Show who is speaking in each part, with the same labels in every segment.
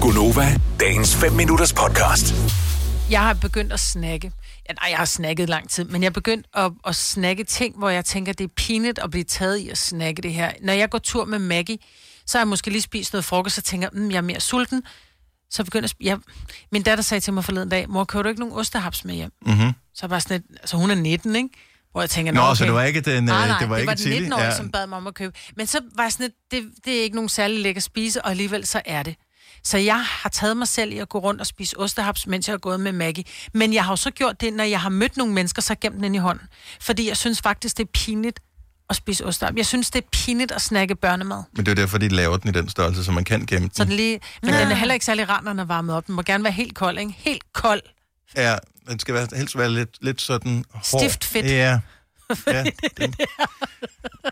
Speaker 1: Gunova, dagens 5 minutters podcast.
Speaker 2: Jeg har begyndt at snakke. Ja, nej, jeg har snakket lang tid, men jeg er begyndt at, at snakke ting, hvor jeg tænker, det er pinligt at blive taget i at snakke det her. Når jeg går tur med Maggie, så har jeg måske lige spist noget frokost, og tænker, mm, jeg er mere sulten. Så begynder jeg, jeg... Min datter sagde til mig forleden dag, mor, kører du ikke nogen ostehaps med hjem? Mm-hmm. Så er jeg bare sådan lidt, altså hun er 19, ikke? Hvor jeg tænker,
Speaker 3: Mhm. Nå,
Speaker 2: okay.
Speaker 3: så det var ikke den, øh,
Speaker 2: nej, nej,
Speaker 3: det var
Speaker 2: det
Speaker 3: ikke
Speaker 2: var den
Speaker 3: tidlig,
Speaker 2: 19 år, ja.
Speaker 3: ja.
Speaker 2: som bad mig om at købe. Men så var jeg sådan lidt, det, det er ikke nogen særlig lækker spise, og alligevel så er det. Så jeg har taget mig selv i at gå rundt og spise ostehaps, mens jeg har gået med Maggie. Men jeg har jo så gjort det, når jeg har mødt nogle mennesker, så har jeg gemt den ind i hånden. Fordi jeg synes faktisk, det er pinligt at spise ostehaps. Jeg synes, det er pinligt at snakke børnemad.
Speaker 3: Men det er jo derfor, de laver den i den størrelse, så man kan gemme den.
Speaker 2: Så den lige, men den er heller ikke særlig rar, når den er varmet op. Den må gerne være helt kold, ikke? Helt kold.
Speaker 3: Ja, den skal være, helst være lidt, lidt sådan hård.
Speaker 2: Stift fedt.
Speaker 3: Ja. ja den.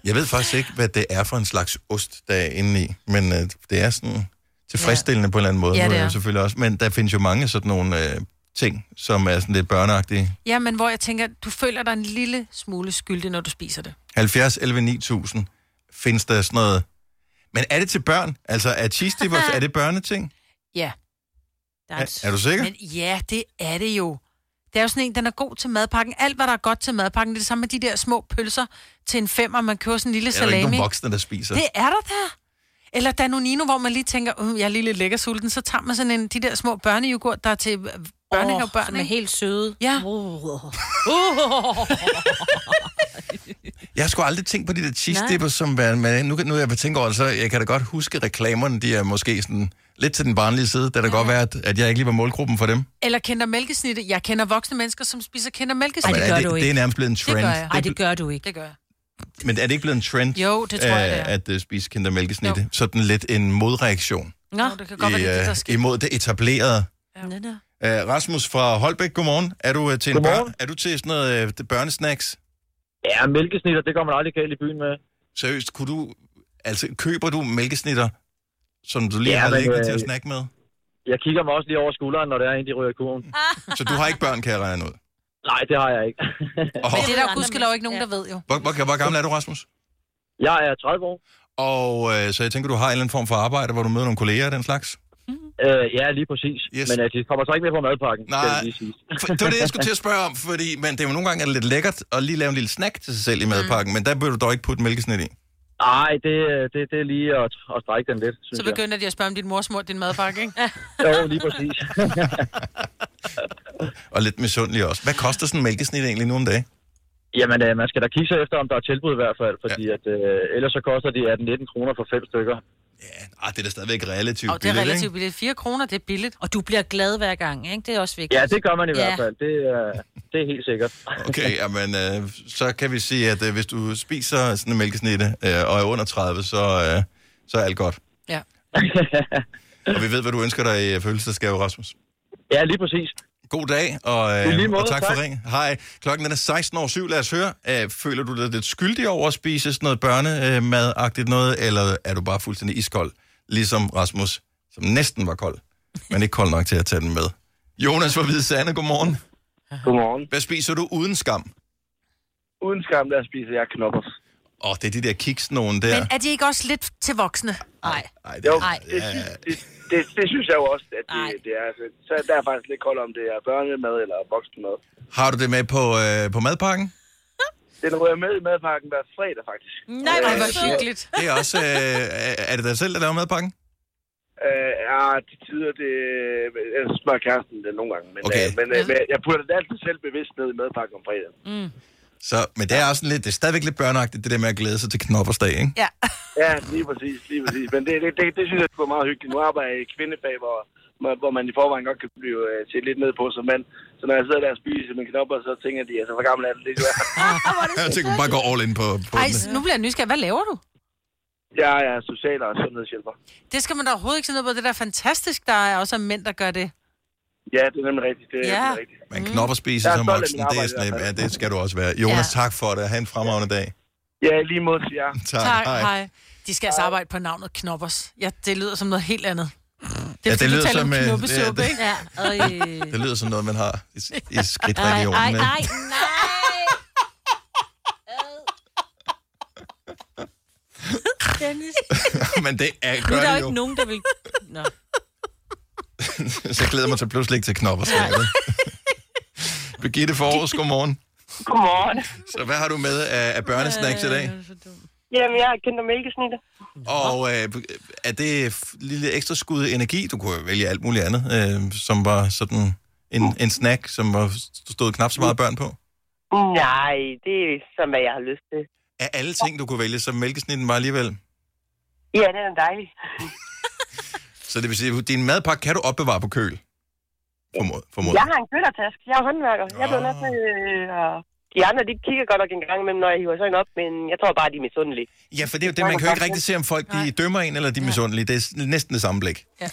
Speaker 3: Jeg ved faktisk ikke, hvad det er for en slags ost, der er inde i, men øh, det er sådan tilfredsstillende ja. på en eller anden måde.
Speaker 2: Ja,
Speaker 3: Nu
Speaker 2: det
Speaker 3: jeg jo
Speaker 2: er.
Speaker 3: Selvfølgelig også, men der findes jo mange sådan nogle øh, ting, som er sådan lidt børneagtige.
Speaker 2: Ja, men hvor jeg tænker, du føler dig en lille smule skyldig, når du spiser det.
Speaker 3: 70, 11, 9000 findes der sådan noget. Men er det til børn? Altså, er cheese dippers, er det børneting?
Speaker 2: Ja.
Speaker 4: Der er,
Speaker 3: Er, er du sikker?
Speaker 2: Men ja, det er det jo. Det er jo sådan en, den er god til madpakken. Alt, hvad der er godt til madpakken, det er det samme med de der små pølser til en femmer, man køber sådan en lille
Speaker 3: Er der
Speaker 2: salami.
Speaker 3: ikke nogen voksne, der spiser?
Speaker 2: det er der da. Eller Danonino, hvor man lige tænker, uh, jeg er lige lidt lækker sulten, så tager man sådan en, de der små børnejoghurt, der er til øh, børnehavebørn.
Speaker 4: som
Speaker 2: Oh,
Speaker 4: er helt søde.
Speaker 2: Ja.
Speaker 4: Oh.
Speaker 3: Jeg har sgu aldrig tænkt på de der cheese
Speaker 4: Nej.
Speaker 3: dippers, som var, men nu, kan- nu jeg tænker over det, så jeg kan da godt huske reklamerne, de er måske sådan lidt til den barnlige side. Det kan da godt være, at, at jeg ikke lige var målgruppen for dem.
Speaker 2: Eller kender mælkesnitte. Jeg kender voksne mennesker, som spiser kender mælkesnitte.
Speaker 4: Ej,
Speaker 3: men
Speaker 4: det gør
Speaker 3: er
Speaker 4: du
Speaker 3: det,
Speaker 4: ikke.
Speaker 3: det er nærmest blevet en trend.
Speaker 2: gør jeg.
Speaker 4: Ej, det gør du ikke.
Speaker 2: Det gør jeg.
Speaker 3: Men er det ikke blevet en trend?
Speaker 2: Jo, det tror jeg, det er.
Speaker 3: øh, At uh, spise kindermælkesnitte. Sådan lidt en modreaktion
Speaker 4: Nå.
Speaker 2: Nå, det kan godt
Speaker 3: i,
Speaker 2: være, det er det, der
Speaker 3: øh,
Speaker 2: sker.
Speaker 3: imod det etablerede.
Speaker 4: Nå, nå.
Speaker 3: Uh, Rasmus fra Holbæk, godmorgen. Er du uh, til en
Speaker 5: Godmorgen.
Speaker 3: børn, er du til sådan noget uh, børnesnacks?
Speaker 5: Ja, mælkesnitter, det går man aldrig galt i byen med.
Speaker 3: Seriøst, kunne du, altså, køber du mælkesnitter, som du lige
Speaker 5: Ja,
Speaker 3: har
Speaker 5: men,
Speaker 3: liggende
Speaker 5: øh,
Speaker 3: til at snakke med?
Speaker 5: Jeg kigger mig også lige over skulderen, når der er en, de ryger i kurven.
Speaker 3: Så du har ikke børn, kan jeg regne ud.
Speaker 5: Nej, det har jeg ikke.
Speaker 3: Og,
Speaker 2: Men det er der
Speaker 4: Andre
Speaker 2: gudskelov ikke nogen, der
Speaker 4: mennesker,
Speaker 2: ved jo.
Speaker 3: Hvor, hvor, hvor gammel er du, Rasmus?
Speaker 5: Jeg er 30 år.
Speaker 3: Og øh, så jeg tænker, du har en eller anden form for arbejde, hvor du møder nogle kolleger og den slags?
Speaker 5: Øh, ja, lige præcis.
Speaker 3: Yes.
Speaker 5: Yes. Men øh, de kommer så ikke med på madpakken,
Speaker 3: Nej.
Speaker 5: skal det lige sige.
Speaker 3: For, det var det, jeg skulle til at spørge om, fordi men det er jo nogle gange er det lidt lækkert at lige lave en lille snack til sig selv i madpakken, mm. men der bør du dog ikke putte mælkesnit i.
Speaker 5: Nej, det, øh, det, det er lige at, at strække den lidt, synes
Speaker 2: Så begynder de at spørge om din morsmor, din madpakke, ikke?
Speaker 5: jeg. Jo, lige præcis.
Speaker 3: Og lidt misundelig også. Hvad koster sådan en mælkesnit egentlig nu om dagen?
Speaker 5: Jamen, øh, man skal da kigge sig efter, om der er tilbud i hvert fald, fordi ja. at, øh, ellers så koster de 18-19 kroner for fem stykker.
Speaker 3: Ja, ah, det er da stadigvæk relativt
Speaker 2: Og det er
Speaker 3: billigt,
Speaker 2: relativt
Speaker 3: ikke?
Speaker 2: billigt. 4 kroner, det er billigt.
Speaker 4: Og du bliver glad hver gang, ikke? Det er også vigtigt.
Speaker 5: Ja, det gør man i
Speaker 4: Ja.
Speaker 5: ja. hvert fald. Det, øh, det er helt sikkert.
Speaker 3: Okay, jamen, øh, så kan vi sige, at øh, hvis du spiser sådan en mælkesnitte øh, og er under 30, så, øh, så er alt godt.
Speaker 2: Ja.
Speaker 3: Og vi ved, hvad du ønsker dig i øh, fødselsdagsgave, Rasmus.
Speaker 5: ja, lige præcis.
Speaker 3: God dag, og,
Speaker 5: I lige
Speaker 3: øh,
Speaker 5: måde,
Speaker 3: og tak,
Speaker 5: tak.
Speaker 3: for ringen. Hej, klokken den er 16 over syv. Lad os høre, øh, føler du dig lidt skyldig over at spise sådan noget børnemadagtigt noget, eller er du bare fuldstændig iskold, ligesom Rasmus, som næsten var kold, men ikke kold nok til at tage den med. Jonas fra Hvide Sande, godmorgen.
Speaker 6: Godmorgen.
Speaker 3: Hvad spiser du uden skam?
Speaker 6: Uden skam, der spiser jeg knoppers.
Speaker 3: Åh, oh, det er de der kiks nogen der.
Speaker 2: Men er de ikke også lidt til voksne? Nej.
Speaker 3: Ej, det,
Speaker 6: Jo,
Speaker 3: Ej.
Speaker 6: det, synes- det, det, det, synes jeg jo også, at
Speaker 4: Ej.
Speaker 6: det, det er. Så, så der er faktisk lidt kold om, det er børnemad eller voksenmad.
Speaker 3: Har du det med på, øh, på madpakken?
Speaker 6: Den rører jeg med i madpakken hver fredag, faktisk.
Speaker 4: Nej,
Speaker 2: Ej,
Speaker 4: hvor
Speaker 2: hvor hyggeligt.
Speaker 3: Det er også... Øh, er- er det dig selv, der laver madpakken?
Speaker 6: Øh, ja, til tider, det jeg smør kæresten det nogle gange. Men,
Speaker 3: Okay.
Speaker 6: øh, men, øh, men jeg putter det altid selv bevidst ned i madpakken om fredagen.
Speaker 3: Så, men det er også sådan lidt, det er stadigvæk lidt børneagtigt, det der med at glæde sig til knoppersdag, ikke?
Speaker 2: Ja.
Speaker 6: Ja, lige præcis, lige præcis. Men det, det, det, det synes jeg er meget hyggeligt. Nu arbejder jeg i kvindefag, hvor, hvor- hvor man i forvejen godt kan blive øh, set lidt ned på som mand. Så når jeg sidder der og spiser med knopper, så tænker de, altså, hvor gammel er det lige være?
Speaker 3: Jeg tænker, bare gå all in på, på
Speaker 2: Ej,
Speaker 3: den.
Speaker 2: nu bliver jeg nysgerrig. Hvad laver du?
Speaker 6: Jeg er social- og sundhedshjælper.
Speaker 2: Det skal man da overhovedet ikke se noget på. Det der er fantastisk, der er også mænd, der gør det.
Speaker 6: Ja, det er nemlig rigtigt. Det er
Speaker 2: Ja.
Speaker 6: ja. nemlig rigtigt.
Speaker 3: Men knopper spiser
Speaker 6: Jeg er
Speaker 3: som
Speaker 6: stolt af
Speaker 3: voksen, det
Speaker 6: mit
Speaker 3: er
Speaker 6: arbejde i
Speaker 3: sådan,
Speaker 6: hvert
Speaker 3: ja,
Speaker 6: fald.
Speaker 3: det skal du også være. Jonas, ja. tak for det. Ha' en fremragende dag.
Speaker 6: Ja, i lige mod til jer.
Speaker 3: Tak,
Speaker 2: Tak, hej. hej. De skal altså arbejde på navnet Knoppers. Ja, det lyder som noget helt andet. Det er,
Speaker 3: Ja,
Speaker 2: ja, det
Speaker 3: det
Speaker 2: fordi,
Speaker 3: lyder
Speaker 2: du taler om
Speaker 3: som, øh,
Speaker 2: knoppesuppe,
Speaker 3: det
Speaker 2: ikke?
Speaker 3: er-
Speaker 4: Ja, øj.
Speaker 3: Det lyder som noget, man har i, i
Speaker 4: Ej, ej,
Speaker 3: skridtregionen.
Speaker 4: nej,
Speaker 3: ikke?
Speaker 4: nej. Ad. Dennis.
Speaker 3: Men det er,
Speaker 4: Nu er
Speaker 3: gør
Speaker 4: der jo
Speaker 3: det jo.
Speaker 4: ikke nogen, der vil... Nå.
Speaker 3: så jeg glæder mig til pludselig ikke til knopper. Birgitte Forårs, godmorgen.
Speaker 7: Godmorgen.
Speaker 3: Så hvad har du med af, af børnesnacks i dag?
Speaker 7: Jamen, jeg har kendt mælkesnitter.
Speaker 3: Og øh, er det f- lille ekstra skud energi? Du kunne jo vælge alt muligt andet, øh, som var sådan en, en snack, som var stod knap så meget børn på.
Speaker 7: Nej, det er som hvad jeg har lyst til.
Speaker 3: Af alle ting, du kunne vælge, så mælkesnitten var alligevel.
Speaker 7: Ja, den er dejlig.
Speaker 3: Så det vil sige, at din madpakke kan du opbevare på køl? Formod, formod.
Speaker 7: Jeg har en køttertask. Jeg er håndværker. Jeg bliver nødt til... Øh, at- de andre, de kigger godt nok en gang imellem, når jeg hiver sådan op, men jeg tror bare, de er misundelige.
Speaker 3: Ja, for det er jo det, man kan jo ikke rigtig se, om folk de dømmer en, eller de er misundelige. Det er s- næsten det samme blik.
Speaker 7: Ja, jeg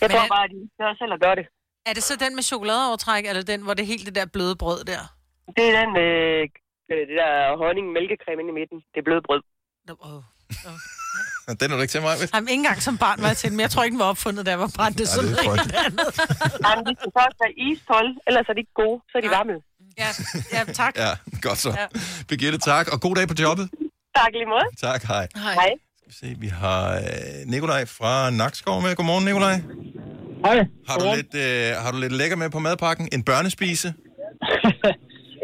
Speaker 2: Men-
Speaker 7: tror bare, de gør selv at gøre det.
Speaker 2: Er det så den med chokoladeovertræk, eller den, hvor det er helt det der bløde brød der?
Speaker 7: Det er den, øh, øh, det der honning mælkecreme inde i midten. Det er blødt brød.
Speaker 2: Nå, åh.
Speaker 3: Den er du ikke til mig, ved?
Speaker 2: Jamen, ikke engang som barn var jeg til den, men jeg tror ikke, den var opfundet, da jeg var brændt. Det er sådan
Speaker 3: det er
Speaker 2: noget helt andet.
Speaker 7: Jamen, de skal først være iskold, ellers er de ikke gode, så er de varme.
Speaker 2: Ja, ja tak.
Speaker 3: Ja, godt så. Ja. Birgitte, tak, og god dag på jobbet.
Speaker 7: Tak lige måde.
Speaker 3: Tak, hej.
Speaker 7: Hej.
Speaker 3: Skal vi se, vi har øh, Nikolaj fra Nakskov med. Godmorgen, Nikolaj.
Speaker 5: Hej.
Speaker 3: Har du, lidt, øh, har du lidt lækker med på madpakken? En børnespise?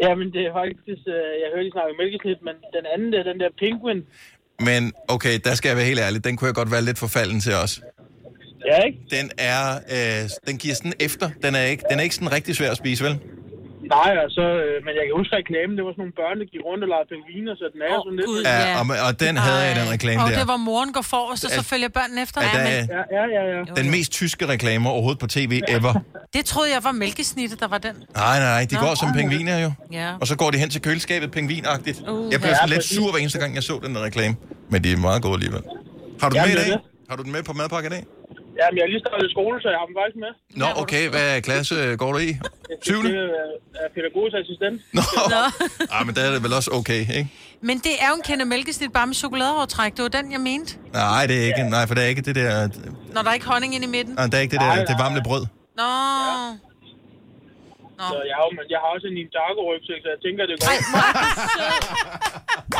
Speaker 5: Jamen, det er faktisk... Øh, jeg hørte, I snakke mælkesnit, men den anden der, den der penguin.
Speaker 3: Men okay, der skal jeg være helt ærlig. Den kunne jeg godt være lidt forfalden til os.
Speaker 5: Ja, ikke?
Speaker 3: Den er, øh, den giver sådan efter. Den er, ikke, den er ikke sådan rigtig svær at spise, vel?
Speaker 5: Nej, altså, øh, men jeg kan huske reklamen, det var sådan nogle børn, der gik rundt og legede pingviner, så den er
Speaker 2: Åh,
Speaker 5: oh, sådan lidt...
Speaker 2: Gud,
Speaker 3: Ja,
Speaker 2: ja.
Speaker 3: og, og den havde jeg, den reklame
Speaker 2: Og
Speaker 3: der.
Speaker 2: det var moren går forrest, og så
Speaker 3: At-
Speaker 2: følger børnene efter.
Speaker 3: At
Speaker 2: Ja,
Speaker 3: der,
Speaker 2: men
Speaker 3: er
Speaker 5: Ja, ja, ja, ja.
Speaker 3: den mest tyske reklamer overhovedet på tv ever.
Speaker 2: det troede jeg var mælkesnittet, der var den.
Speaker 3: Nej, nej, nej, de
Speaker 2: Nå.
Speaker 3: går som pingviner jo.
Speaker 2: Ja.
Speaker 3: Og så går de hen til køleskabet pingvinagtigt.
Speaker 2: Uh,
Speaker 3: Jeg blev sådan
Speaker 5: ja,
Speaker 3: lidt
Speaker 5: præcis.
Speaker 3: sur hver eneste gang, jeg så den der reklame. Men de er meget gode alligevel. Har du den med
Speaker 5: Jamen,
Speaker 3: i
Speaker 5: det er
Speaker 3: dag? Har du den med på madpakken i dag?
Speaker 5: Jamen, jeg har lige startet i skole, så jeg har dem faktisk med.
Speaker 3: Nå, okay, hvad klasse øh, går du i?
Speaker 5: Det
Speaker 3: Syvende?
Speaker 5: er, øh, er pædagogisk assistent.
Speaker 3: Nå. Ah, men der er det vel også okay, ikke?
Speaker 2: Men det er jo en kende mælkesnit bare med chokoladeovertræk. Det var den, jeg mente.
Speaker 3: Nej, det er ikke. Nej, for der er ikke det der...
Speaker 2: Når der er ikke honning ind i midten.
Speaker 3: Nej, der er ikke det der det varme brød.
Speaker 2: Nå.
Speaker 5: Så jeg har, jo- men jeg har også en Ninjago rygsæk, så jeg tænker, det går.
Speaker 2: Ej, hvor er